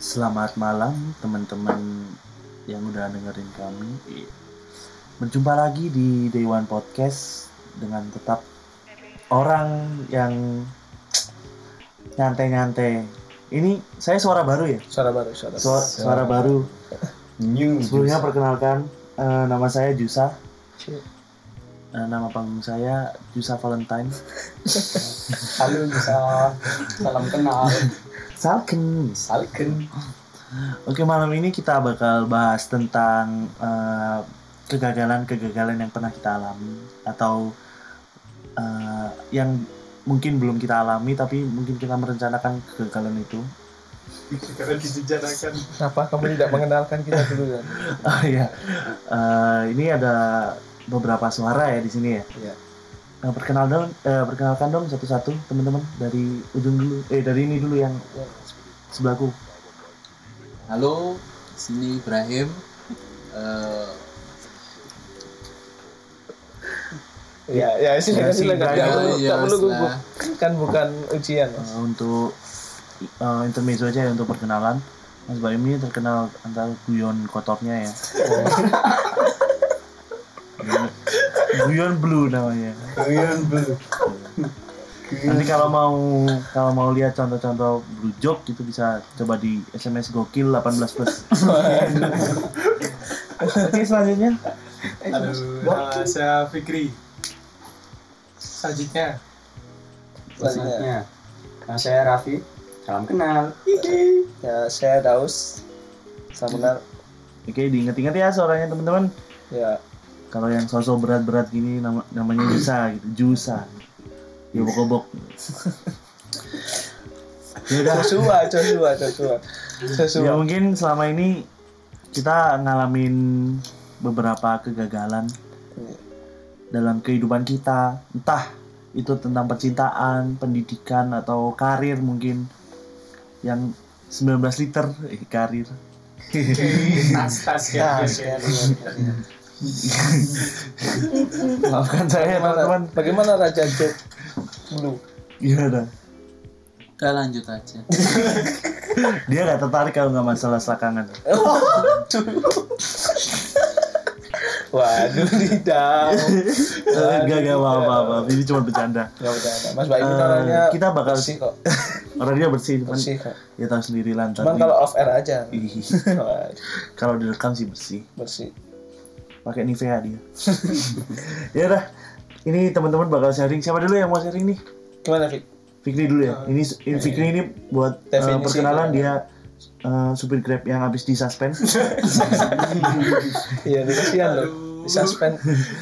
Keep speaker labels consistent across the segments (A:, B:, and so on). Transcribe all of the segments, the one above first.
A: Selamat malam teman-teman yang udah dengerin kami. Berjumpa lagi di Day One Podcast dengan tetap orang yang nyantai-nyantai. Ini saya suara baru ya?
B: Suara baru, suara baru.
A: Suara, suara baru.
C: New
A: Sebelumnya perkenalkan eh, nama saya Jusa.
B: Iya.
A: Eh, nama panggung saya Jusa Valentine.
B: Halo bisa salam kenal.
A: Salken.
B: Salken.
A: Oke malam ini kita bakal bahas tentang eh, kegagalan-kegagalan yang pernah kita alami atau eh, yang mungkin belum kita alami tapi mungkin kita merencanakan kegagalan itu.
C: Karena disejarahkan.
B: Kenapa kamu tidak mengenalkan kita dulu kan?
A: Oh iya, Eh, ini ada beberapa suara ya di sini ya.
B: Iya.
A: Nah, perkenal dong, eh, perkenalkan dong satu-satu teman-teman dari ujung dulu, eh dari ini dulu yang sebelahku.
D: Halo, sini Ibrahim. Eh,
B: Iya, ya
A: Ya,
B: silakan
A: sih,
B: silakan.
A: Brian.
B: Enggak perlu
D: ya,
B: enggak perlu
D: wes
B: gugup.
D: lah.
B: Kan bukan ujian, Mas.
A: Eh, untuk eh, intermezzo aja ya untuk perkenalan Mas Baim ini terkenal antara guyon kotornya ya Guyon- guyon blue namanya
C: Kalian belum.
A: nanti kalau mau kalau mau lihat contoh-contoh blue joke itu bisa coba di sms gokil 18 plus oke selanjutnya
B: Eh,
C: Halo, nama saya Fikri. Selanjutnya.
B: Selanjutnya.
E: Nah, saya Raffi, salam kenal.
B: Ya, saya Daus. Salam kenal.
A: oke diinget-inget ya suaranya teman-teman
B: Ya,
A: kalau yang sosok berat-berat gini nama- namanya Jusa gitu Jusa ya obok ya udah
B: Joshua, Joshua, Joshua.
A: ya
B: Joshua.
A: mungkin selama ini kita ngalamin beberapa kegagalan Hmm.
B: Iya.
A: dalam kehidupan kita entah itu tentang percintaan pendidikan atau karir mungkin yang 19 liter eh, karir
C: Oke, Tas, tas,
B: Nah,
C: ya, ya, ya.
B: sekian, sekian, sekian.
A: maafkan saya
B: Bagaimana,
A: teman-teman
B: bagaimana Raja Jet Blue?
A: gimana
D: udah lanjut aja.
A: dia nggak tertarik kalau nggak masalah selakangan
B: Waduh, tidak.
A: Iya.
B: Iya,
A: Gak, gak, apa-apa, apa-apa. Ini cuma bercanda.
B: Ya udah, udah. Mas Bayu
A: Eh,
B: orangnya
A: kita bakal- Eh,
B: bersih kok.
A: Orangnya bersih, cuman
B: Bersih kok.
A: ya tahu sendiri lantar.
B: Cuman kalau off air aja.
A: Ih,
B: Waduh,
A: kalau direkam sih bersih.
B: bersih.
A: Pakai Nivea dia. ya udah. Ini teman-teman bakal sharing. Siapa dulu yang mau sharing nih?
B: Gimana, Fik?
A: Fikri dulu ya. Ini, ini Fikri ini buat eh,
B: Nah, eh, Definisi
A: perkenalan
B: dulu.
A: dia eh, supir Grab yang habis disuspend.
B: Iya, ini kasihan loh.
C: Aduh.
B: Di suspend.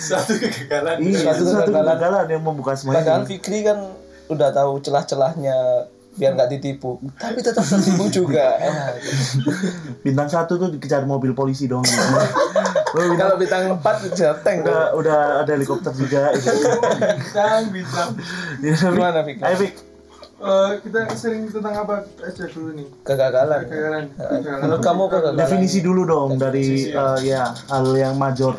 C: Satu kegagalan.
A: Ih,
B: Suatu
A: satu-satu
B: kegagalan.
A: kegagalan yang membuka
B: Padahal
A: semuanya.
B: Fikri kan udah tahu celah-celahnya biar nggak ditipu. Tapi tetap tertipu juga. Ah,
A: Bintang satu tuh dikejar mobil polisi dong. Oh, bintang-
B: Kalau bintang 4 jateng
A: udah,
B: dong.
A: udah ada helikopter juga.
C: Bintang, bintang.
A: Ya, Fik.
B: Gimana, Fikri?
A: Ayo, Fik.
C: Kan, Eh, kita sering tentang apa aja dulu nih?
B: Kegagalan.
C: Kegagalan. Kegagalan.
B: Menurut kamu kegagalan?
A: definisi dulu dong dari
C: Definisi,
A: eh,
C: ya.
A: ya hal yang major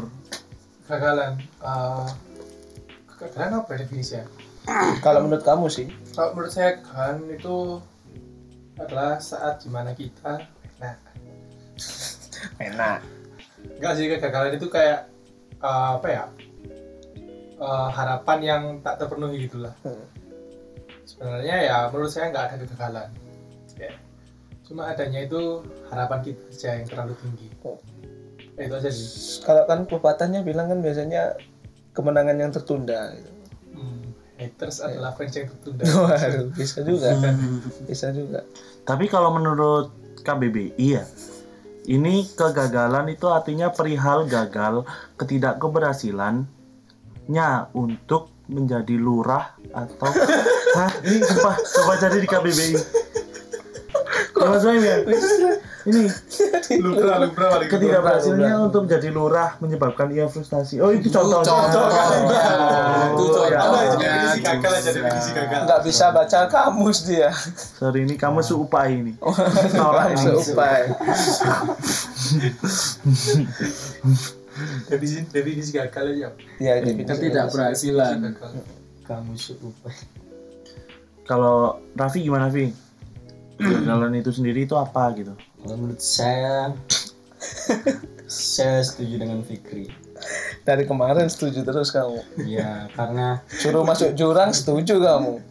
C: Kegagalan. Eh, Kegagalan apa ya definisinya?
B: Kalau menurut kamu sih,
C: Kalau menurut saya kegagalan itu adalah saat dimana kita nah
B: enak.
C: Enggak sih kegagalan itu kayak eh, apa ya? Eh, harapan yang tak terpenuhi gitulah.
B: Hmm.
C: Sebenarnya ya menurut saya nggak ada kegagalan. Ya. Cuma adanya itu harapan kita saja yang terlalu tinggi.
B: Oh.
C: Ya, itu aja sih.
B: Kalau kan pepatahnya bilang kan biasanya kemenangan yang tertunda. Gitu.
C: Hmm, Haters
B: Ya.
C: adalah fans yang tertunda.
B: Waduh, bisa juga. kan? Bisa juga.
A: tapi kalau menurut KBBI ya ini kegagalan itu artinya perihal gagal ketidakkeberhasilannya untuk menjadi lurah atau Hah? ini coba coba cari di KBBI Coba saya lihat. ya? ini
C: Lubra, lubra, paling lubra.
A: ketidakberhasilannya
B: lurah.
A: untuk menjadi lurah menyebabkan ia frustasi oh itu
D: Itu
A: contohnya
D: contoh. Itu
A: Oh, ya.
C: Apa
D: contoh.
C: aja definisi gagal aja definisi gagal.
B: Nggak bisa baca kamus dia.
A: sorry ini kamu seupai ini
B: Orang
A: Orang
B: seupai.
C: Definisi definisi gagal aja.
B: Ya, itu
D: Kita
B: bisa.
D: tidak berhasilan.
C: Gagal.
E: Kamu seupai.
A: Kalau Raffi gimana Raffi? Kegagalan itu sendiri itu apa gitu?
E: Kalau menurut saya, saya setuju dengan Fikri.
B: Dari kemarin setuju terus kamu.
E: Ya, karena
B: Suruh masuk jurang setuju kamu.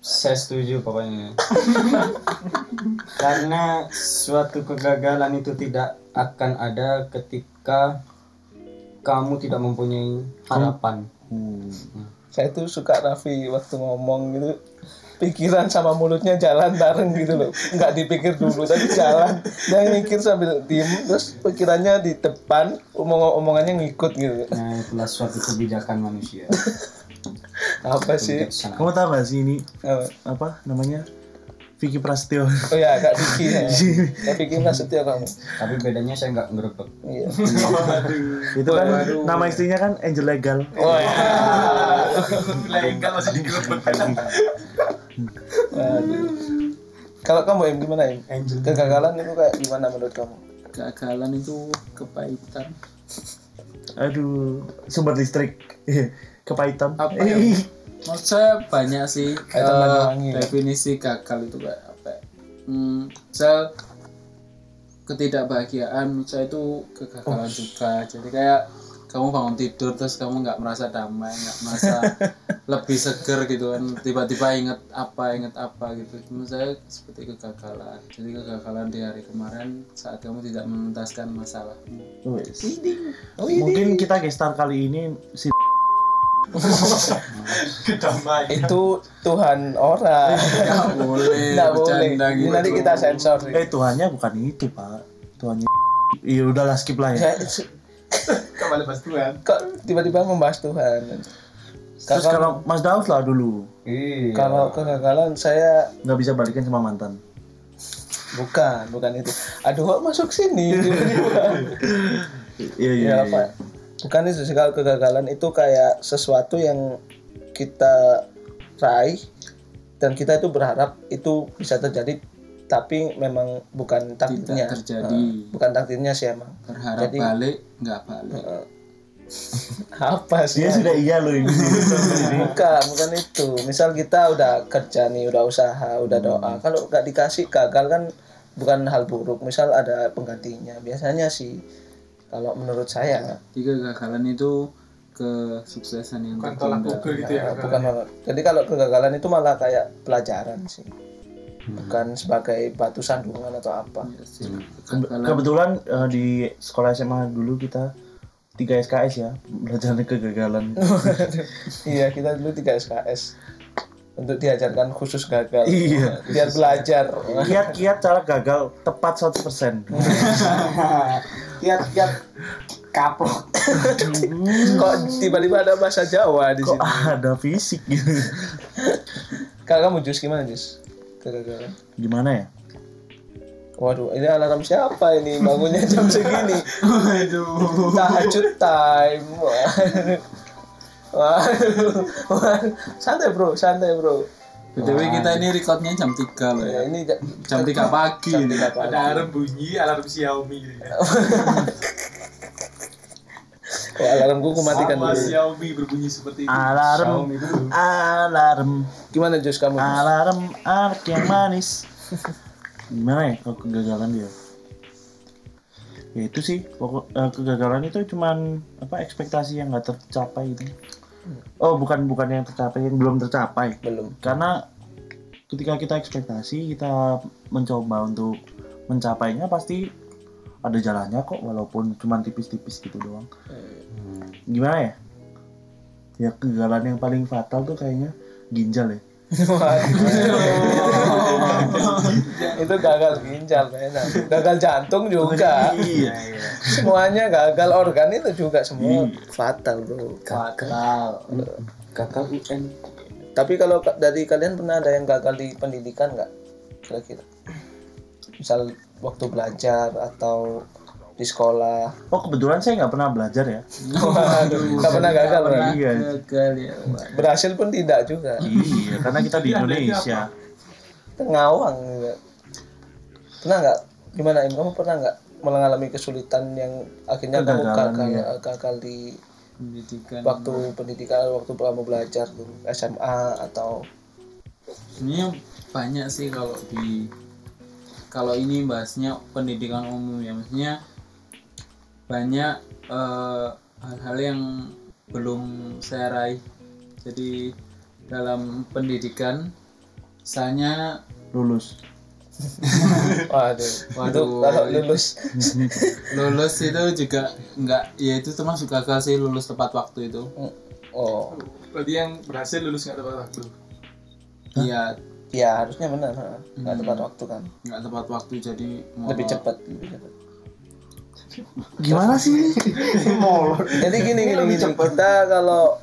E: saya setuju pokoknya. karena suatu kegagalan itu tidak akan ada ketika kamu tidak mempunyai harapan.
B: Saya tuh suka Raffi waktu ngomong gitu. Pikiran sama mulutnya jalan bareng gitu loh. Nggak dipikir dulu tapi jalan. Dia mikir sambil diem terus pikirannya di depan, omong omongannya ngikut gitu.
E: Nah, itulah suatu kebijakan manusia.
B: Apa sih?
E: Kebijaksanaan.
A: Kamu tahu gak sih ini
B: Oh
D: Iya.
A: apa namanya? Vicky Prasetyo.
B: oh ya, Kak Diki. ya. Kak Diki nggak setia kamu.
E: Tapi bedanya saya nggak ngerebek.
B: Iya.
A: Itu kan nama istrinya kan Angel Legal.
B: Oh ya.
C: Legal kan masih digerebek.
B: Waduh. Kalau kamu Em gimana Em? Kegagalan itu kayak gimana menurut kamu?
D: Kegagalan itu kepahitan.
A: Aduh, sumber listrik. Kepahitan.
D: Apa ya?
A: Eh,
D: Menurut saya banyak sih
B: Kaitan
D: eh,
B: Banyuwangi, ya?
D: definisi gagal itu kayak apa? ya? Hmm, saya ketidakbahagiaan menurut saya itu kegagalan juga. Jadi kayak kamu bangun tidur terus kamu nggak merasa damai, nggak merasa lebih seger gitu kan. Tiba-tiba inget apa, inget apa gitu. Menurut saya seperti kegagalan. Jadi kegagalan di hari kemarin saat kamu tidak menuntaskan masalahmu.
A: wes.
B: Oh
A: Mungkin kita gestar kali ini si
C: Kedamaian.
B: itu Tuhan orang.
D: Nggak boleh
B: Nggak boleh.
D: Iya, bercanda
B: Ini
D: gitu.
B: nanti kita sensor.
A: eh tuhannya bukan itu, Pak. Tuhannya Iya udahlah skip lah ya.
B: Ya,
C: Kembali pas kan Tuhan.
B: kok tiba-tiba membahas Tuhan?
D: Iya.
A: Terus
B: Kakak-
A: kalau Mas Daud lah dulu
E: Iya.
B: Kalau kegagalan saya
A: nggak bisa balikan sama mantan.
B: bukan, bukan itu. Aduh kok masuk sini.
D: Iya.
A: I- Iya iya.
B: ya
A: iya.
B: apa? Bukan itu sih kalau kegagalan itu kayak sesuatu yang kita raih dan kita itu berharap itu bisa terjadi tapi memang bukan takdirnya.
D: terjadi.
B: Nah, bukan takdirnya sih emang.
D: Berharap
B: Jadi-
D: balik, nggak balik.
B: Apa sih?
A: Dia sudah iya loh ini.
B: Bukan, bukan itu. Misal kita udah kerja nih, udah usaha, udah doa. Kalau nggak dikasih gagal kan bukan hal buruk. Misal ada penggantinya. Biasanya sih kalau menurut saya
D: Jadi kegagalan itu kesuksesan yang
B: Kan
C: Bukan tolak
D: tertunda.
C: ukur gitu ya.
B: nah, bukan malah. Jadi kalau kegagalan itu malah kayak pelajaran sih. Bukan sebagai batu sandungan atau apa.
D: Iya sih,
B: Kan
A: Kebe-
D: Kegagalan
A: Kebetulan eh, di sekolah SMA dulu kita 3 SKS ya, belajar kegagalan.
B: iya, kita dulu 3 SKS untuk diajarkan khusus gagal.
A: Iya.
B: Biar belajar.
A: Kiat-kiat cara gagal tepat 100%.
E: Kiat-kiat kaplok.
B: Kok tiba-tiba ada bahasa Jawa di
A: Kok
B: sini?
A: ada fisik gitu?
B: Kalau kamu Jus gimana Jus? Kegagalan.
A: Gimana ya?
B: Waduh, ini alarm siapa ini? Bangunnya jam segini. Waduh. Tahajud time. Waduh. Waduh. Waduh. Santai bro, santai bro.
D: BTW kita ini recordnya jam 3 loh ya
B: Ya, ini ja-
D: Jam 3 pagi
B: jam
D: ini
B: tiga pagi.
C: Ada alarm bunyi, alarm Xiaomi gitu ya.
B: Oh, alarm gua aku matikan
C: Sama
B: dulu.
C: Xiaomi berbunyi seperti itu.
A: Alarm,
C: Xiaomi dulu.
A: alarm,
B: Gimana Jus kamu? Jus?
A: alarm, anak yang manis. Gimana ya kalau kegagalan dia? Ya itu sih, pokok eh, kegagalan itu cuman apa ekspektasi yang nggak tercapai gitu. Oh bukan bukan yang tercapai, yang belum tercapai.
B: Belum.
A: karena ketika kita ekspektasi kita mencoba untuk mencapainya pasti ada jalannya kok walaupun cuman tipis-tipis gitu doang gimana ya ya kegagalan yang paling fatal tuh kayaknya ginjal ya
B: itu gagal ginjal kayaknya. Gagal jantung juga.
A: iya
B: Semuanya gagal organ itu juga semua Iya. fatal bro.
E: Gagal. Gagal UN.
B: Tapi kalau ka- dari kalian pernah ada yang gagal di pendidikan nggak? Kira-kira. Misal waktu belajar atau di sekolah.
A: oh kebetulan saya nggak pernah belajar ya
B: Waduh, nggak pernah gagal bro.
A: iya
D: Gagal ya Wak.
B: Berhasil pun tidak juga.
A: iya karena kita di Indonesia
B: Ngawang juga. Pernah nggak? Gimana Im? Kamu pernah nggak mengalami kesulitan yang akhirnya kamu
A: Kegagalan,
B: gagal,
A: iya.
B: gagal di
D: Pendidikan
B: waktu pendidikan, waktu kamu belajar dulu SMA atau
D: Ini banyak sih kalau di kalau ini bahasnya pendidikan umum ya maksudnya banyak eh, hal-hal yang belum saya raih jadi dalam pendidikan misalnya
A: lulus
B: Waduh. Itu
D: Waduh.
B: kalau
A: iya.
B: lulus
D: lulus itu juga nggak ya itu termasuk gagal sih lulus tepat waktu itu
B: oh
C: Berarti yang berhasil lulus nggak tepat waktu.
D: iya
B: ya harusnya benar ha. nggak
A: Hmm.
B: tepat waktu kan
D: nggak tepat waktu jadi
A: Oh.
B: lebih
D: molor.
B: cepat lebih cepat
A: gimana sih
B: jadi gini
A: Iya,
B: gini, gini. kita kalau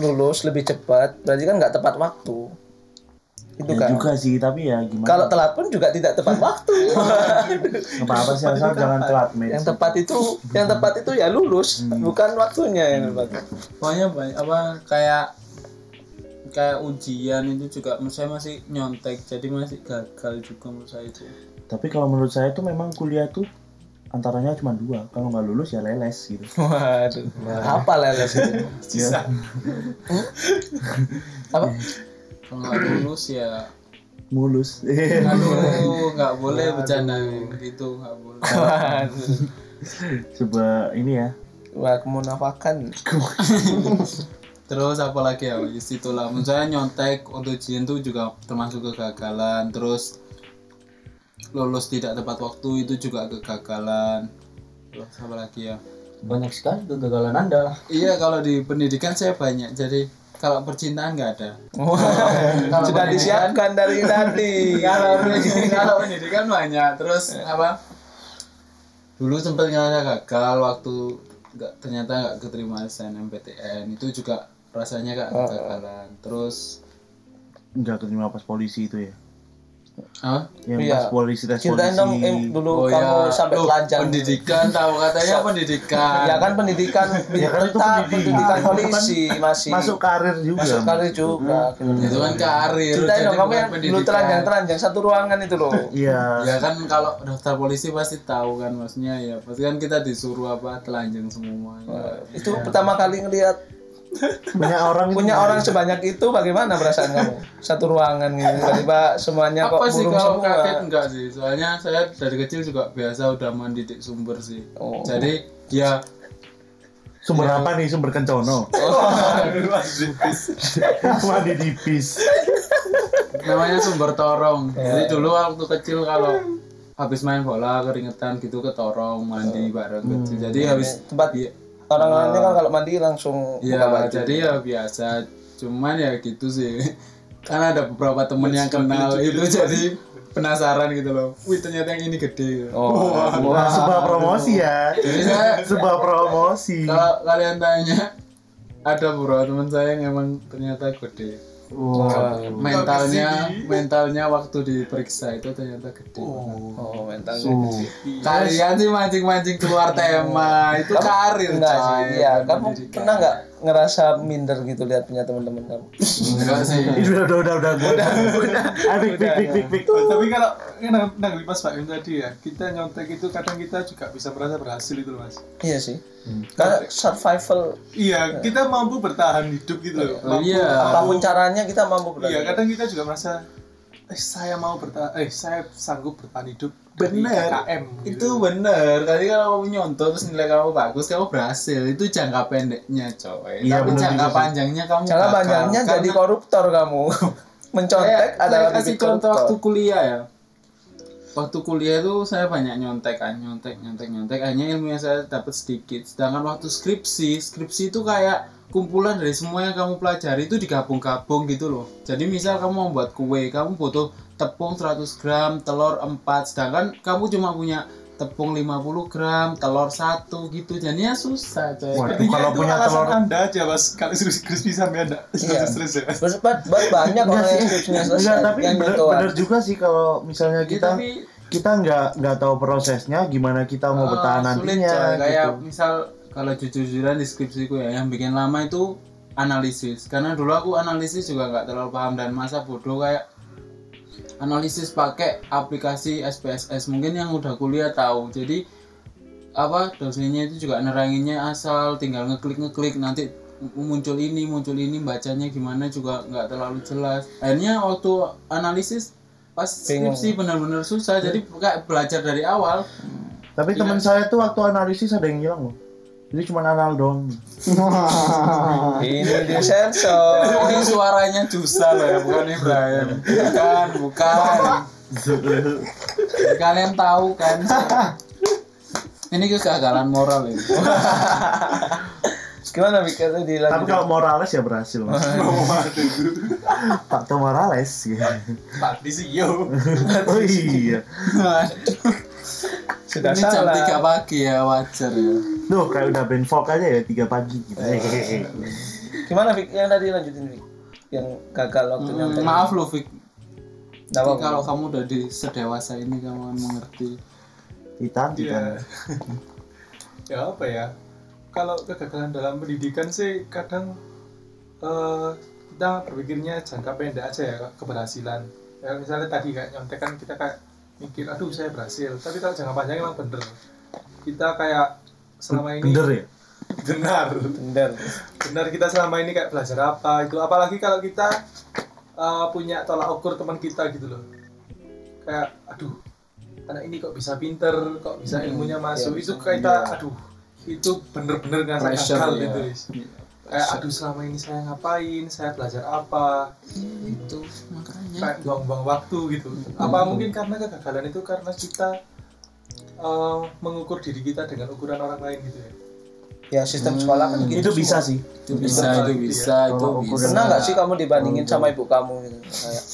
B: lulus lebih cepat berarti kan nggak tepat waktu itu
A: ya
B: kan
A: juga sih tapi ya gimana
B: kalau telat pun juga tidak tepat waktu
A: apa apa sih asal jangan telat men
B: yang tepat itu yang tepat itu ya lulus
A: Hmm.
B: bukan waktunya yang tepat
D: pokoknya banyak apa kayak kayak ujian itu juga menurut saya masih nyontek jadi masih gagal juga menurut saya itu
A: tapi kalau menurut saya tuh memang kuliah tuh antaranya cuma dua kalau nggak lulus ya leles gitu
B: waduh apa leles itu
A: ya.
B: apa
D: kalau nggak lulus ya
A: mulus
D: aduh nggak boleh bercanda gitu nggak boleh
B: waduh
A: coba ini ya
B: Wah, kemunafakan
D: terus apalagi ya di situ lah menurut saya nyontek untuk ujian tuh juga termasuk kegagalan terus lulus tidak tepat waktu itu juga kegagalan terus apa lagi ya
E: banyak sekali kegagalan anda
D: iya kalau di pendidikan saya banyak jadi kalau percintaan nggak ada
B: Wah, sudah disiapkan dari tadi
D: kalau pendidikan- kalau pendidikan banyak terus apa Eh. dulu sempat ngerasa gagal waktu nggak ternyata nggak keterima SNMPTN itu juga rasanya kayak kegagalan terus
A: nggak keterima pas polisi itu ya
D: apa
A: yang
B: Iya.
A: pas polisi tes
B: ceritain dong
A: polisi
B: eh,
A: iya.
B: em, dulu
D: Oh,
B: kamu
D: ya.
B: sampai
D: Loh,
B: telanjang
D: pendidikan tahu katanya pendidikan
B: ya kan pendidikan
A: Ya kan itu
B: tetap
A: pendidikan.
B: pendidikan
A: Itu kan
B: polisi masih
A: masuk Hmm. karir juga
B: masuk karir juga
D: itu kan karir
B: ceritain dong kamu
D: bukan
B: yang dulu telanjang telanjang satu ruangan itu loh
A: iya
D: ya kan kalau daftar polisi pasti tahu kan maksudnya ya pasti kan kita disuruh apa telanjang semua ya.
B: itu pertama kali ngelihat
A: punya orang
B: punya orang
A: gitu.
B: sebanyak itu bagaimana perasaan kamu satu ruangan gitu tiba-tiba semuanya Ya, kok
D: Ya, apa sih
B: burung
D: kalau
B: semua
D: kaget enggak sih soalnya saya dari kecil juga biasa udah mendidik sumber sih
B: Oh.
D: jadi ya
A: sumber
B: Iya.
A: apa nih sumber kencono mandi di pis
D: namanya sumber torong
B: Ya.
D: jadi dulu waktu kecil kalau habis main bola keringetan gitu ke
B: Oh.
D: torong mandi bareng kecil
B: Hmm.
D: jadi habis
B: tempat
D: Iya.
B: orang-orangnya
A: Ah.
B: kan kalau mandi langsung
A: Iya.
B: buka
D: ya
B: baju
D: jadi ya biasa cuman ya gitu sih karena ada beberapa temen yang kenal itu jadi penasaran gitu loh wih ternyata yang ini gede ya.
B: oh
A: Wah, sebuah promosi ya
D: jadi saya
A: sebuah promosi
D: kalau kalian tanya ada beberapa teman saya yang emang ternyata gede
A: Wah,
D: mentalnya mentalnya waktu diperiksa itu ternyata gede banget.
B: oh iya. mentalnya
A: tuh.
D: kalian sih mancing-mancing keluar tema itu karir
B: Oh. enggak sih
A: ya,
D: coy
B: iya kamu pernah nggak ngerasa minder gitu lihat punya teman-teman kamu
D: enggak sih
A: Ini udah udah udah Ah, udah udah Aduh, pik pik pik pik
C: Tapi kalau nang- nanggapi Mas Baim tadi ya, kita nyontek itu kadang kita juga bisa merasa berhasil itu loh, Mas.
B: iya sih
A: Hmm.
B: karena survival
C: Iya, kita mampu bertahan hidup gitu loh.
D: Oh,
C: Mampu-
D: iya
B: apapun caranya kita mampu berani
D: kan.
C: Iya, kadang kita juga merasa eh saya mau bertahan, eh saya sanggup bertahan hidup
D: Bener.
C: KKM.
D: itu bener tadi kalau kamu nyontoh terus nilai kamu bagus kamu berhasil itu jangka pendeknya coy
A: Iya,
D: tapi
A: bener
D: jangka
A: juga sih.
D: panjangnya kamu
B: Jangan
D: gagal.
B: banyaknya jadi
D: Karena-
B: koruptor kamu. Mencontek
D: Kayak saya
B: adalah
D: kasih
B: lebih
D: contoh waktu
B: koruptor.
D: kuliah ya waktu kuliah itu saya banyak nyontek kan nyontek nyontek nyontek hanya ilmu yang saya dapat sedikit sedangkan waktu skripsi skripsi itu kayak kumpulan dari semua yang kamu pelajari itu digabung-gabung gitu loh jadi misal kamu mau buat kue kamu butuh tepung 100 gram telur 4 sedangkan kamu cuma punya tepung 50 gram telur satu gitu jadinya susah coy
A: Waduh, kalau punya telur
C: Anda aja Mas, kalau serius crispy sampai Anda
B: Iya.
C: stres ya. Mas.
B: Terus ba- ba- banyak orang yang skripsinya
A: Enggak,
B: selesai.
A: Iya tapi
B: yang
A: bener,
B: gitu,
A: bener juga sih kalau misalnya
D: Iya,
A: kita
D: tapi-
A: kita nggak nggak tahu prosesnya gimana kita mau bertahan
D: Ah, sulit,
A: nantinya
D: coy. kayak
A: gitu.
D: misal kalau jujur-jujuran di skripsiku ya yang bikin lama itu analisis karena dulu aku analisis juga nggak terlalu paham dan masa bodoh kayak analisis pakai aplikasi SPSS mungkin yang udah kuliah tahu jadi apa dosennya itu juga neranginnya asal tinggal ngeklik ngeklik nanti muncul ini muncul ini bacanya gimana juga nggak terlalu jelas akhirnya waktu analisis pas
B: Bingung.
D: skripsi benar-benar susah jadi
A: Iya.
D: kayak belajar dari awal
A: Tapi
D: Iya.
A: teman saya tuh waktu analisis ada yang hilang loh. Jadi cuma anal dong.
B: Ini
A: Iya.
B: disensor.
D: ini suaranya Jusa loh ya bukan Ibrahim bukan bukan Jadi kalian tahu kan ini kegagalan moral ya. ini
B: Oh, Gimana pikirnya di
A: Tapi
B: lanjut?
A: kalau Morales ya berhasil. Mas. Pak Tom Morales ya.
C: Pak di sih yo.
A: Oh iya.
B: Sudah
D: ini jam
B: salah.
D: 3 pagi ya wajar ya
A: Duh kayak udah band folk aja ya tiga pagi gitu.
D: Iya.
B: Gimana Fik? Yang tadi lanjutin Fik? Yang gagal waktu yang
D: Hmm,
B: tadi.
D: maaf loh Fik
B: Nggak
D: Tapi
B: apa-apa.
D: kalau kamu udah di sedewasa ini kamu akan mengerti
A: Titan, titan.
C: Iya. ya apa ya? Kalau kegagalan dalam pendidikan sih kadang eh, kita berpikirnya jangka pendek aja ya keberhasilan. Ya, misalnya tadi kayak nyontek kan kita kayak mikir, aduh saya berhasil. Tapi kalau jangka panjang emang bener. Kita kayak selama ini
A: Bener ya.
C: benar.
B: Bener.
C: benar kita selama ini kayak belajar apa gitu apalagi kalau kita uh, punya tolak ukur teman kita gitu loh kayak aduh anak ini kok bisa pinter kok bisa
D: Iya,
C: ilmunya masuk itu kayak kita aduh itu bener-bener ngerasa
D: Pressure,
C: gagal
D: iya.
C: gitu Is. kayak aduh selama ini saya ngapain saya belajar apa
D: Iya, itu makanya Iya,
C: kayak buang-buang waktu gitu apa mungkin karena kegagalan itu karena kita uh, mengukur diri kita dengan ukuran orang lain gitu ya
B: Ya sistem sekolah kan
A: Hmm,
B: gitu.
A: Itu bisa sih.
D: itu bisa itu bisa itu
A: Tolak ukur
D: bisa
B: Pernah iya. nggak sih kamu dibandingin sama ibu kamu gitu? Kayak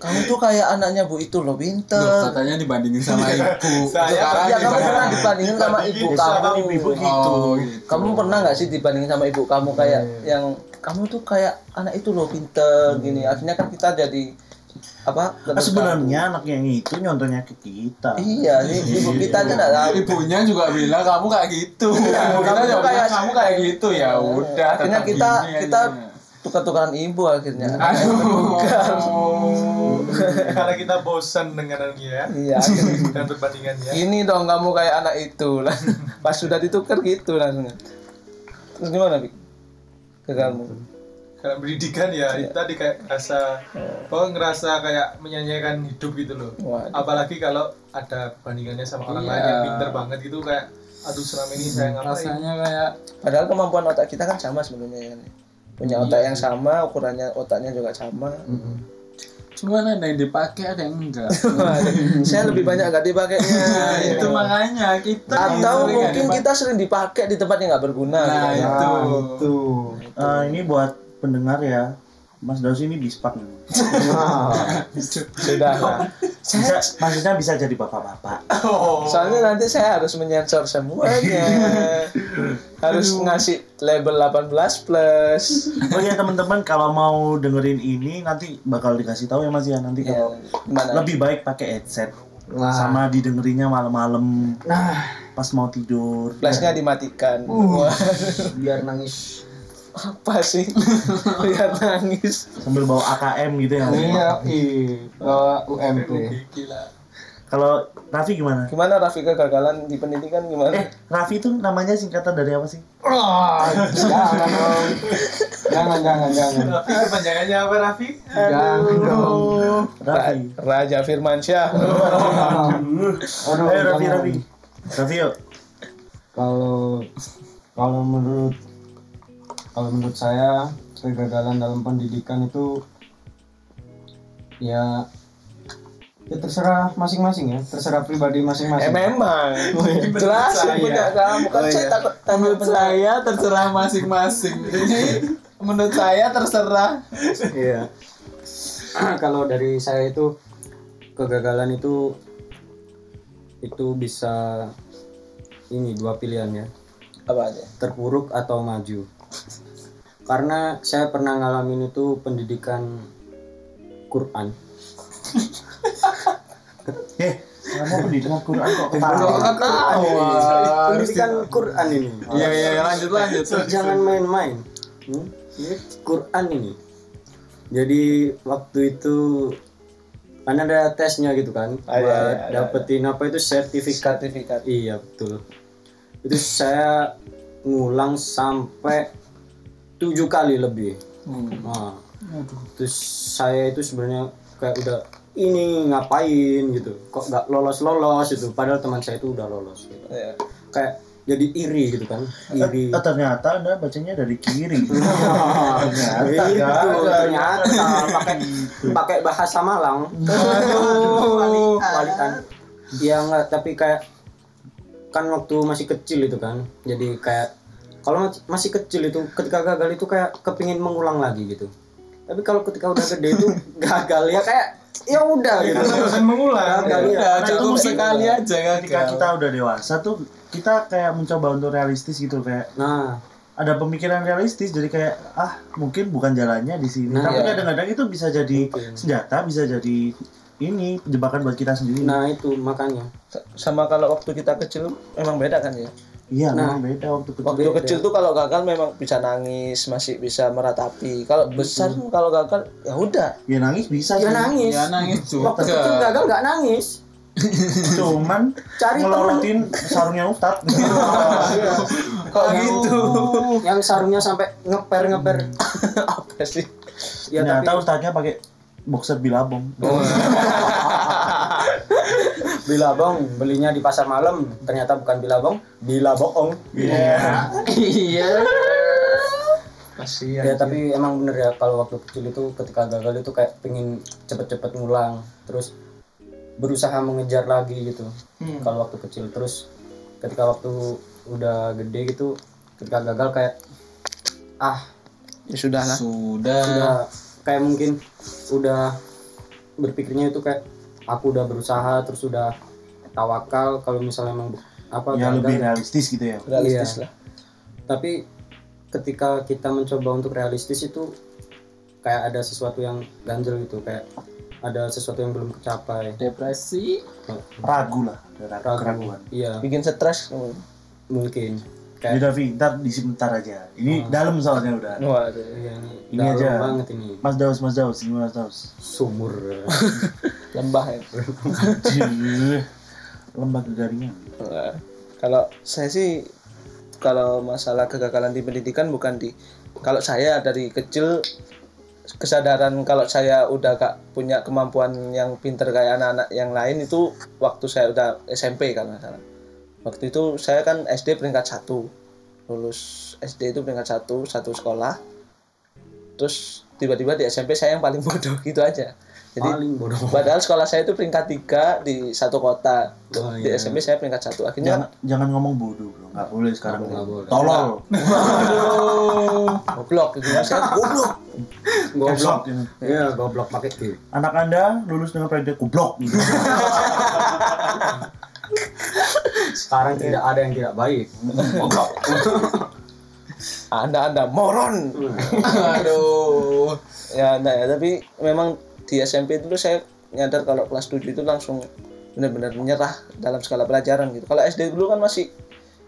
B: kamu tuh kayak anaknya bu itu loh
D: Loh,
B: pinter.
D: katanya dibandingin sama ibu
A: Iya,
C: Saya-
D: sekarang
B: Ya kamu
D: gimana?
B: Iya. pernah dibandingin sama ibu
A: gitu. Sama ibu
B: kamu.
A: gitu. Iya,
D: oh gitu
B: Kamu pernah nggak sih dibandingin sama ibu kamu kayak yang kamu tuh kayak anak itu loh pinter gini. Akhirnya kan kita jadi apa?
A: Nah, Hmm. sebenarnya anak yang itu nyontohnya ke kita.
D: Eh,
B: Iya, ini ibu kita aja nggak tahu.
D: ibunya juga bilang kamu kayak gitu kita
B: Iya, kamu
D: juga
B: kayak- Iya.
D: bilang kamu kayak gitu ya udah
B: Akhirnya
D: tetap
B: kita
D: gini
B: kita
D: aja.
B: tukar-tukaran ibu akhirnya.
D: aduh
C: karena kita bosan dengan anu ya, dia
B: Iya. akhirnya.
C: dan perbandingannya
B: Ini dong kamu kayak anak itu lah. Pas sudah ditukar gitu langsung. Terus gimana, Bik? Gagalmu.
C: dalam pendidikan ya itu tadi kayak rasa kok ngerasa kayak menyanyikan hidup gitu loh
B: Waduh.
C: apalagi kalau ada bandingannya sama orang lain yang
D: Iya.
C: pinter banget gitu kayak aduh selama ini saya ngapain
D: rasanya kayak
B: Padahal kemampuan otak kita kan sama sebenarnya kan. Punya
D: Iya.
B: otak yang sama, ukurannya otaknya juga sama.
D: cuman ada yang dipakai ada yang enggak
B: Waduh, Saya lebih banyak gak dipakainya.
D: nah, itu makanya kita
B: Atau
D: sering nggak
B: mungkin
D: dipakai.
B: kita sering dipakai di tempat yang nggak berguna.
D: Iya. nah
B: gitu.
D: itu
E: itu
D: gitu.
A: Eh, ini buat pendengar ya. Mas Daus ini bispak.
B: Sudah
D: Iya.
B: lah.
A: Bisa, maksudnya bisa jadi bapak-bapak.
C: oh
B: Soalnya nanti saya harus menyensor semuanya. harus ngasih label 18 plus.
A: Oh iya teman-teman kalau mau dengerin ini nanti bakal dikasih tahu ya Mas ya nanti
B: Ya,
D: Iya.
A: kalau
B: gimana?
A: lebih baik pakai headset
D: Nah.
A: sama didengerinnya malam-malam
E: Nah.
A: pas mau tidur. Eh,
B: flashnya dimatikan
A: Uh.
B: Wah,
E: Nah, biar nangis
B: apa sih lihat nangis
A: sambil bawa AKM gitu ya.
E: iya i eh, bawa UMP
C: gila
A: Kalau Raffi gimana?
B: gimana Raffi kegagalan di pendidikan
A: Eh,
B: gimana
A: Raffi itu namanya singkatan dari apa sih?
E: Ah, jangan dong jangan jangan jangan
C: Raffi kepanjangannya apa Raffi
E: jangan dong
B: Ra-
A: Raffi.
B: Raja Firmansyah
A: Oh,
E: Aduh,
A: Eh, Raffi,
E: jangan.
A: Raffi. Raffi yuk.
E: kalau kalau menurut kalau menurut saya kegagalan dalam pendidikan itu ya ya terserah masing-masing ya terserah pribadi
A: iya.
B: eh
E: masing-masing
B: memang
A: Oh,
B: jelas
C: saya.
B: punya kamu kan
A: iya.
B: saya takut tanya
D: menurut saya terserah masing-masing jadi menurut saya terserah
E: Iya. Kalau dari saya itu kegagalan itu itu bisa ini dua pilihannya
B: apa aja
E: terpuruk atau maju. Karena saya pernah ngalamin itu pendidikan Quran.
A: Eh, kamu pendidikan Quran kok
E: Pendidikan
A: ketawa?
E: Quran ini.
D: Wah,
E: Pendidikan Quran ini.
D: Iya iya iya, lanjut lanjut.
E: Jangan main-main. Hmm? Ini Quran ini. Jadi waktu itu kan ada tesnya gitu kan,
B: Ah, iya,
E: buat
B: iya, iya,
E: dapetin apa itu sertifikat
B: sertifikat
E: Iya betul. Itu saya ngulang sampai
B: Hmm.
E: Ah. tujuh kali lebih. Nah, terus saya itu sebenarnya kayak udah ini ngapain gitu kok nggak lolos lolos gitu padahal teman saya itu udah lolos gitu.
B: Ya.
E: kayak jadi iri gitu kan iri
A: Eh, ternyata anda bacanya dari kiri.
E: ternyata
A: Iya,
E: gitu,
A: iya.
E: ternyata pakai pakai bahasa Malang Waduh, walian. ya enggak tapi kayak kan waktu masih kecil itu kan jadi kayak kalau mas- masih kecil itu ketika gagal itu kayak kepingin mengulang lagi gitu tapi kalau ketika udah gede itu gagal ya kayak ya udah gitu
C: Dosen mengulang.
E: Gagal, ya.
D: Ya,
A: Karena itu
D: cukup
A: mesti-
D: sekali aja kan.
A: Ketika kita udah dewasa tuh kita kayak mencoba untuk realistis gitu kayak
E: nah
A: ada pemikiran realistis jadi kayak ah mungkin bukan jalannya di sini.
E: Nah,
A: Tapi
B: iya.
A: kadang-kadang itu bisa jadi
E: Mungkin.
A: senjata, bisa jadi ini jebakan buat kita sendiri.
E: nah itu makanya
B: Sa- sama kalau waktu kita kecil memang beda kan ya
A: iya,
E: nah.
A: memang beda waktu kecil.
B: waktu
E: Beda.
B: kecil tuh kalau gagal memang bisa nangis masih bisa meratapi kalau
E: Gitu.
B: besar tuh kalau gagal ya udah
A: Ya nangis bisa
E: ya
A: sih.
E: nangis
D: Ya nangis
E: waktu kecil
D: juga.
E: gagal nggak nangis
A: Cuman
E: cari temen
A: ngelorotin sarungnya Ustaz.
B: kok gitu
E: yang sarungnya sampai ngeper ngeper
B: apa sih
E: ya
A: Ternyata
E: tapi
A: Ustaznya pakai boxer bilabong.
E: bilabong belinya di pasar malam ternyata bukan bilabong bilaboong
A: Iya.
E: iya
C: Kasihan.
A: Iya,
E: ya tapi emang bener ya kalau waktu kecil itu ketika gagal itu kayak pengen cepet-cepet ngulang terus berusaha mengejar lagi gitu
A: Hmm.
E: kalau waktu kecil terus ketika waktu udah gede gitu ketika gagal kayak ah
B: ya sudah lah
A: Hmm.
D: Sudah.
E: udah kayak mungkin udah berpikirnya itu kayak aku udah berusaha terus udah tawakal kalau misalnya emang apa
A: Ya
E: gagal.
A: lebih realistis gitu ya.
B: realistis
E: Iya.
B: lah
E: tapi ketika kita mencoba untuk realistis itu kayak ada sesuatu yang ganjel gitu kayak ada sesuatu yang belum tercapai
D: Depresi.
A: Ragu lah, ada ragu- keraguan.
E: iya
B: bikin stres kamu.
E: mungkin
A: Ya
E: kayak
A: udah Vi, ntar di sebentar aja. Ini dalam soalnya udah.
B: Hmm. waduh
E: iya, ini,
A: Ini
E: dalam
A: aja.
E: banget ini
A: Mas Daus, Mas Daus, gimana Mas Daus?
E: sumur
B: lembah ya
A: Jih, Lembah garingan.
B: Nah, kalau saya sih kalau masalah kegagalan di pendidikan bukan di kalau saya dari kecil kesadaran kalau saya udah gak punya kemampuan yang pinter kayak anak-anak yang lain itu waktu saya udah SMP kalau nggak salah waktu itu saya kan SD peringkat satu lulus SD itu peringkat satu satu sekolah terus tiba-tiba di SMP saya yang paling bodoh gitu aja jadi
E: paling bodoh
B: padahal sekolah saya itu peringkat tiga di satu kota
E: Oh,
B: di
E: iya.
B: SMP saya peringkat satu akhirnya
A: Jangan, jangan ngomong bodoh bro, nggak boleh sekarang.
E: Nggak boleh.
A: Tolol,
B: goblok gitu Mas. Saya goblok
A: goblok.
E: goblok iya goblok pakai G
A: Anak anda lulus dengan predikat goblok. Gitu.
E: sekarang tidak ada yang tidak baik goblok
B: anda anda moron
E: Nah,
D: Aduh.
B: ya nah ya tapi memang di SMP dulu saya nyadar kalau kelas 7 itu langsung benar-benar menyerah dalam skala pelajaran gitu kalau SD dulu kan masih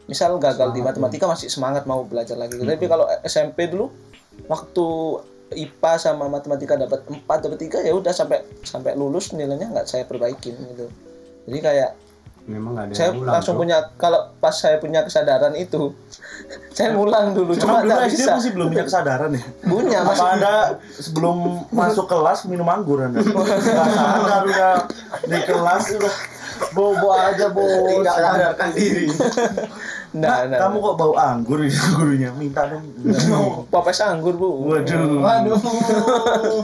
B: misal gagal di matematika masih semangat mau belajar lagi gitu. tapi kalau SMP dulu waktu IPA sama matematika dapat 4 dapat 3 ya udah sampai sampai lulus nilainya nggak saya perbaikin gitu jadi kayak
E: memang nggak ada
B: saya
E: yang ngulang,
B: langsung
E: bro.
B: punya kalau pas saya punya kesadaran itu saya ngulang dulu
A: Cuma
B: cuma
A: dulu
B: nggak
A: SD
B: bisa
A: masih belum punya kesadaran ya.
B: punya
A: Apa
B: masih
A: anda sebelum masuk kelas minum anggur anda? Nggak sadar udah di kelas udah bobo aja bobo.
E: tidak sadarkan diri
B: nah, nah,
A: Kamu kok bau anggur ini gurunya? Minta dong.
B: nah. popes anggur bu
A: Waduh.
C: Waduh.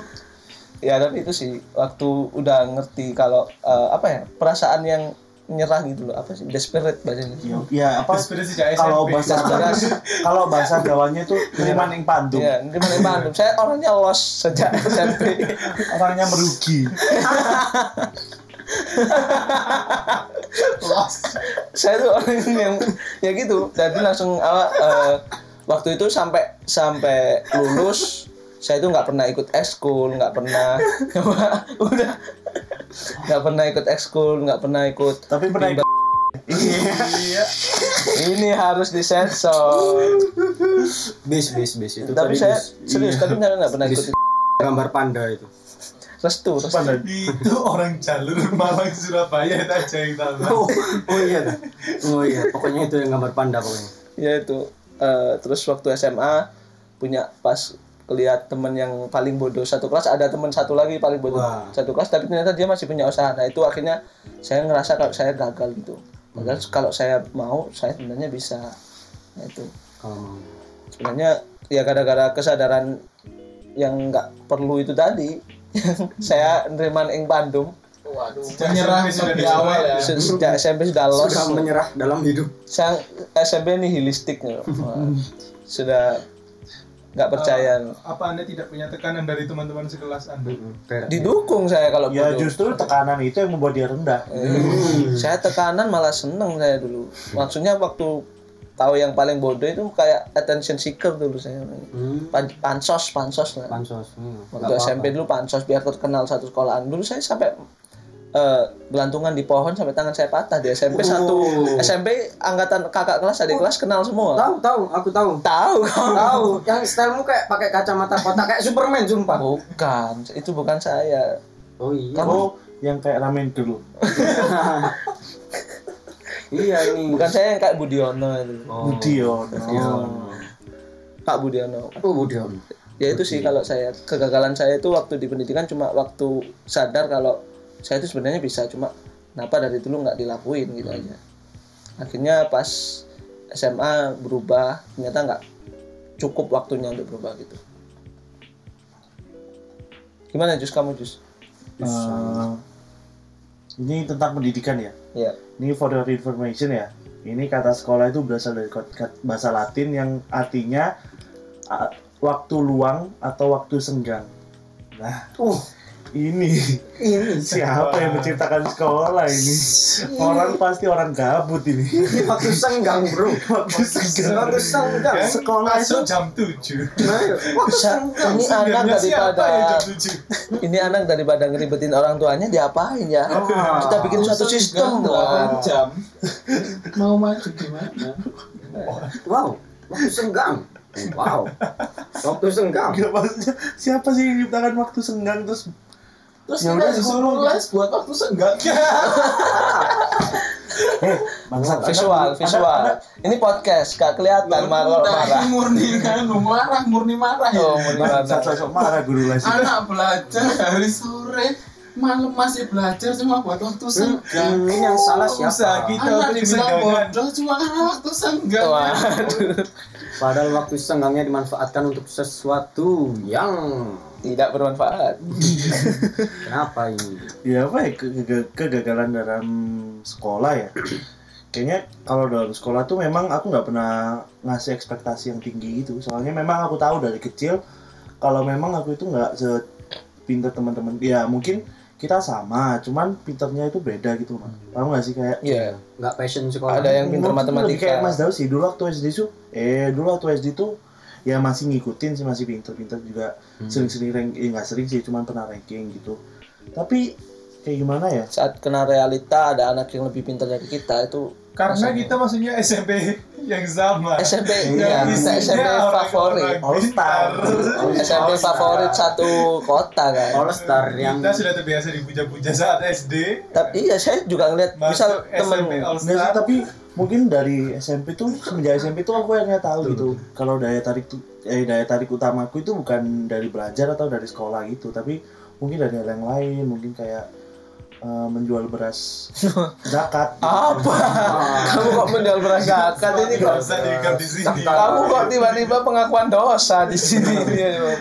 B: ya tapi itu sih waktu udah ngerti kalau eh, apa ya perasaan yang menyerah gitu loh apa sih desperate bahasanya
A: Ya, Ya apa?
C: Inspirasi dari
A: Kalau
C: SMP.
A: bahasa kalau bahasa Jawanya itu kiriman ing pandung.
B: Iya, di mana Bandung. Saya orangnya los sejak SMP.
A: orangnya merugi
B: saya tuh orang yang ya gitu jadi langsung apa eh, waktu itu sampai sampai lulus saya itu nggak pernah ikut ekskul nggak pernah udah nggak pernah ikut ekskul nggak pernah ikut
A: tapi pernah ikut
B: ini harus disensor
E: bis bis bis itu
B: tapi
E: tadi Iya.
B: saya
E: bis.
B: serius tapi saya nggak pernah ikut
E: Bis- gambar panda itu
B: restu restu.
A: Pernah.
C: itu orang jalur Malang Surabaya itu aja yang tahu.
E: oh, oh iya dah. oh iya pokoknya itu yang gambar panda pokoknya
B: ya itu eh, terus waktu SMA punya pas lihat temen yang paling bodoh satu kelas ada temen satu lagi paling bodoh
E: Wah.
B: satu kelas tapi ternyata dia masih punya usaha nah itu akhirnya saya ngerasa kalau saya gagal gitu padahal kalau saya mau saya sebenarnya bisa nah itu
E: Kalau
B: sebenarnya ya gara-gara kesadaran yang nggak perlu itu tadi saya nerima ing Bandung
D: Waduh,
C: menyerah
D: di
C: di awal ya.
B: Se- sejak SMP sudah lost
E: sudah menyerah dalam hidup.
B: saya SMP nihilistik ya. Wah, sudah nggak percaya
C: Apa Anda tidak punya tekanan dari teman-teman sekelas Anda?
B: didukung saya kalau
A: Ya
B: bodoh.
A: justru tekanan itu yang membuat dia rendah.
B: Eh, saya tekanan malah seneng saya dulu maksudnya waktu tahu yang paling bodoh itu kayak attention seeker dulu saya
E: Hmm.
B: Pan- pansos pansos lah
E: Pansos. Hmm.
B: waktu SMP dulu pansos biar terkenal satu sekolahan dulu saya sampai eh, gelantungan di pohon sampai tangan saya patah di SMP satu
E: Oh.
B: SMP angkatan kakak kelas adik kelas kenal semua
E: Tahu tahu, aku tahu.
B: tahu kok
E: Tahu, yang stylemu kayak pakai kacamata kotak kayak Superman sumpah.
B: bukan itu bukan saya
E: Oh iya.
A: Oh, yang kayak ramen dulu.
E: iya ini.
B: bukan saya yang kayak Budiono itu
E: Oh.
A: Budiono.
B: Kak Budiono
E: Oh, Budion.
B: ya itu sih kalau saya kegagalan saya itu waktu di pendidikan cuma waktu sadar kalau saya itu sebenarnya bisa cuma kenapa dari dulu nggak dilakuin gitu aja akhirnya pas SMA berubah ternyata nggak cukup waktunya untuk berubah gitu gimana Jus kamu Jus
A: Eh, ini tentang pendidikan ya.
B: ya
A: Ini for your information ya. Ini kata sekolah itu berasal dari kot- kat- bahasa Latin yang artinya a- waktu luang atau waktu senggang. Nah,
E: Uh,
A: ini
E: ini.
A: siapa yang menciptakan sekolah ini? Orang pasti orang gabut ini.
E: Ini waktu senggang, Bro.
A: Waktu senggang.
E: Waktu senggang.
C: Kan
A: Sekolah
C: masuk jam 7.
E: Ayo, Waktu
B: Sa-
E: senggang.
B: ini anak
C: Sebenarnya siapa
B: daripada
C: ya jam 7?
B: ini anak daripada ngeribetin orang tuanya diapain ya kita bikin suatu sistem lah
D: jam. Mau maju gimana?
E: Wow, waktu senggang. Wow. Waktu senggang.
A: Gak maksudnya siapa sih yang menciptakan waktu senggang terus
D: Terus
A: Ya udah,
D: kita disuruh
A: sekolah.
D: les buat waktu senggang.
A: eh bangsa
B: visual visual ini podcast gak kelihatan marah marah
D: Tadi murni kan, marah, murni marah ya.
B: Oh, mau dimana?
A: bangsa sosok marah guru les
D: Anak belajar hari sore, malam masih belajar cuma buat waktu senggang.
E: Hmm, ini yang salah
C: Usaha
E: siapa?
C: kita
D: Anak
C: untuk
D: dibilang
C: kesenggangan.
D: bodoh cuma karena waktu senggang.
B: Waduh,
E: Padahal waktu senggangnya dimanfaatkan untuk sesuatu yang
B: tidak bermanfaat.
E: kenapa ini?
A: ya apa ya ke- ke- kegagalan dalam sekolah ya kayaknya kalau dalam sekolah tuh memang aku nggak pernah ngasih ekspektasi yang tinggi itu soalnya memang aku tahu dari kecil kalau memang aku itu nggak sepinter teman-teman ya mungkin kita sama cuman pinternya itu beda gitu mah paham nggak sih kayak
B: Iya,
E: Nggak passion sekolah.
B: ada Hmm. yang pintar
A: Menurut gue lebih kayak Mas
B: matematika.
A: Daus sih dulu waktu SD tuh eh dulu waktu SD tuh ya masih ngikutin sih masih pinter-pinter juga
B: Hmm.
A: sering-sering rank eh nggak sering sih cuman pernah ranking gitu tapi kayak gimana ya
B: Saat kena realita ada anak yang lebih pintar dari kita itu
C: Karena
B: Maksudnya.
C: kita maksudnya SMP yang sama.
B: SMP
C: Yang
B: ya, kita
C: isinya
B: SMP
C: Iya. orang-orang Iya.
B: favorit.
A: All Star
B: SMP favorit satu kota kan.
E: All Star
C: Kita
E: yang
C: sudah terbiasa dipuja-puja saat SD.
B: Tapi iya saya juga ngeliat misal
C: Masuk SMP
B: temen
C: All
A: Nggak sih,
C: Star.
A: tapi mungkin dari SMP tuh semenjak SMP tuh aku akhirnya tahu gitu kalau daya tarik tuh eh, daya tarik utamaku itu bukan dari belajar atau dari sekolah gitu tapi mungkin dari hal yang lain mungkin kayak eh, menjual beras zakat
B: apa?
E: Ah,
B: Kamu kok menjual beras zakat ini
C: Nggak
B: kok?
C: usah diikat di sini.
B: Kamu kok tiba-tiba pengakuan dosa di sini?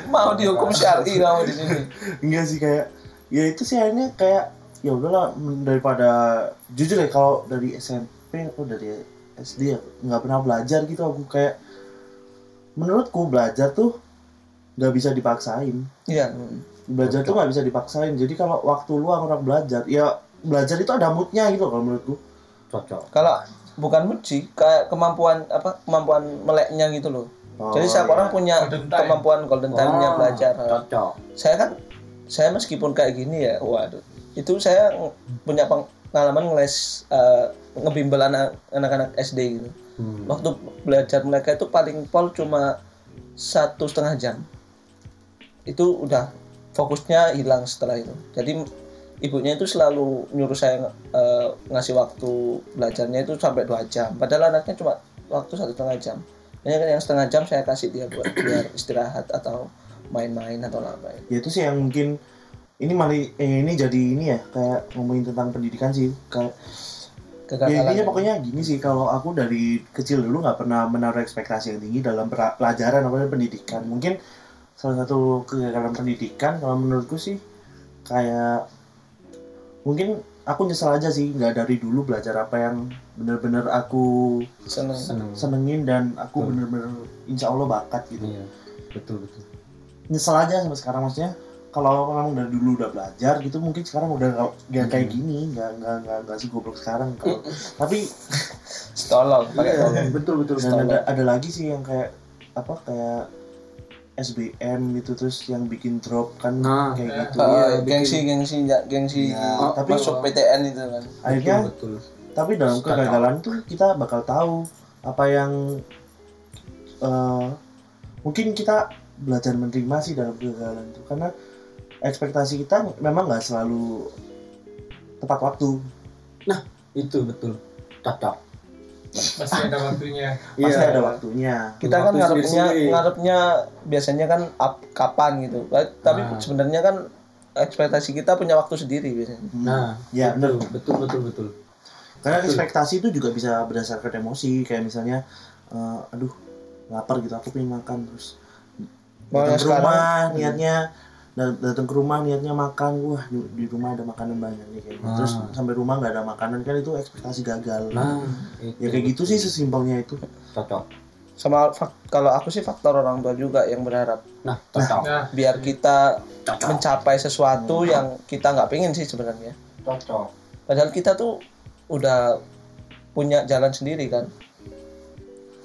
B: Mau dihukum syar'i kamu di sini?
A: enggak sih kayak ya itu sih akhirnya kayak ya udahlah men- daripada jujur ya kalau dari SMP atau oh, dari SD ya nggak pernah belajar gitu aku kayak menurutku belajar tuh nggak bisa dipaksain
B: Iya.
A: belajar tuh nggak bisa dipaksain jadi kalau waktu luang orang belajar ya belajar itu ada moodnya gitu kalau menurutku
E: cocok.
B: Kalau bukan muji, kayak kemampuan apa kemampuan meleknya gitu loh.
A: Oh,
B: Jadi setiap
A: iya. Oh.
B: orang punya
C: Golden time.
B: kemampuan golden time-nya
E: Ah,
B: belajar.
E: Cocok.
B: Saya kan saya meskipun kayak gini ya, waduh. Itu saya ng- punya peng- pengalaman ngeles eh, ngebimbel anak- anak-anak SD gitu.
E: Hmm.
B: Waktu belajar mereka itu paling pol cuma satu setengah jam. Itu udah fokusnya hilang setelah itu. Jadi ibunya itu selalu nyuruh saya eh, ngasih waktu belajarnya itu sampai dua jam. Padahal anaknya cuma waktu satu setengah jam. Ini kan yang setengah jam saya kasih dia buat biar istirahat atau main-main atau ngapain
A: ya itu sih yang mungkin ini malah eh, ini jadi ini ya kayak ngomongin tentang pendidikan sih kayak ya
B: kegagalan
A: intinya pokoknya gini sih kalau aku dari kecil dulu nggak pernah menaruh ekspektasi yang tinggi dalam pera- pelajaran apa namanya, pendidikan mungkin salah satu kegagalan pendidikan kalau menurutku sih kayak mungkin aku nyesel aja sih nggak dari dulu belajar apa yang bener-bener aku
B: seneng
D: seneng
A: senengin dan aku
D: Betul.
A: bener-bener insya Allah bakat gitu
D: iya betul betul
A: nyesel aja sampai sekarang maksudnya kalau memang dari dulu udah belajar gitu mungkin sekarang udah nggak- nggak kayak
D: Hmm.
A: gini nggak nggak nggak nggak sih goblok sekarang kalau tapi
B: tolol pakai
A: Iya.
B: tolol
E: betul betul
A: dan ada ada lagi sih yang kayak apa kayak SBM gitu terus yang bikin drop kan
E: Nah,
A: kayak
D: ya.
C: iya.
A: gitu
B: Ah,
E: bikin-
B: gengsi gengsi ya, gengsi
A: Iya,
E: tapi-
B: masuk PTN itu kan
A: akhirnya
E: betul
A: tapi dalam
D: Suka
A: kegagalan tuh kita bakal tahu apa yang eh, mungkin kita belajar menerima sih dalam kegagalan itu karena ekspektasi kita memang nggak selalu tepat waktu
E: itu betul cocok
C: pasti ada waktunya
A: pasti
E: Iya.
A: ada waktunya
B: kita kan
E: Waktu
B: ngarepnya
E: sendiri-sendiri.
B: ngarepnya biasanya kan up- kapan gitu Ba- tapi
D: Ah.
B: sebenarnya kan ekspektasi kita punya waktu sendiri biasanya
A: Hmm.
E: nah
A: ya benar
E: betul betul betul betul
A: Karena
E: Betul.
A: ekspektasi itu juga bisa berdasarkan emosi, kayak misalnya, eh, aduh lapar gitu, aku pengen makan terus
B: Mau
A: datang ke
B: sekarang?
A: rumah niatnya dat- datang ke rumah niatnya makan, wah di, di rumah ada makanan banyak nih kayak gitu.
E: Ah.
A: Terus sampai rumah nggak ada makanan kan itu ekspektasi gagal.
E: nah
A: ya kayak gitu sih sesimpelnya itu.
E: cocok
B: sama fak- kalau aku sih faktor orang tua juga yang berharap
E: nah cocok
C: nah
B: biar kita
E: cocok
B: mencapai sesuatu yang kita nggak pengen sih sebenarnya
E: cocok
B: padahal kita tuh udah punya jalan sendiri kan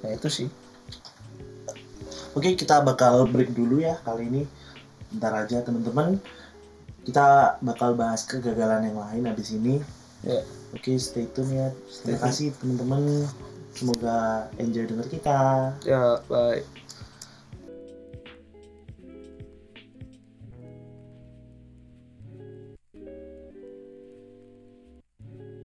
B: nah itu sih
A: Oke kita bakal break dulu ya kali ini. Ntar aja teman-teman. Kita bakal bahas kegagalan yang lain habis ini.
B: Ya.
A: Oke stay tune ya. Terima kasih teman-teman. Semoga enjoy denger kita.
B: ya baik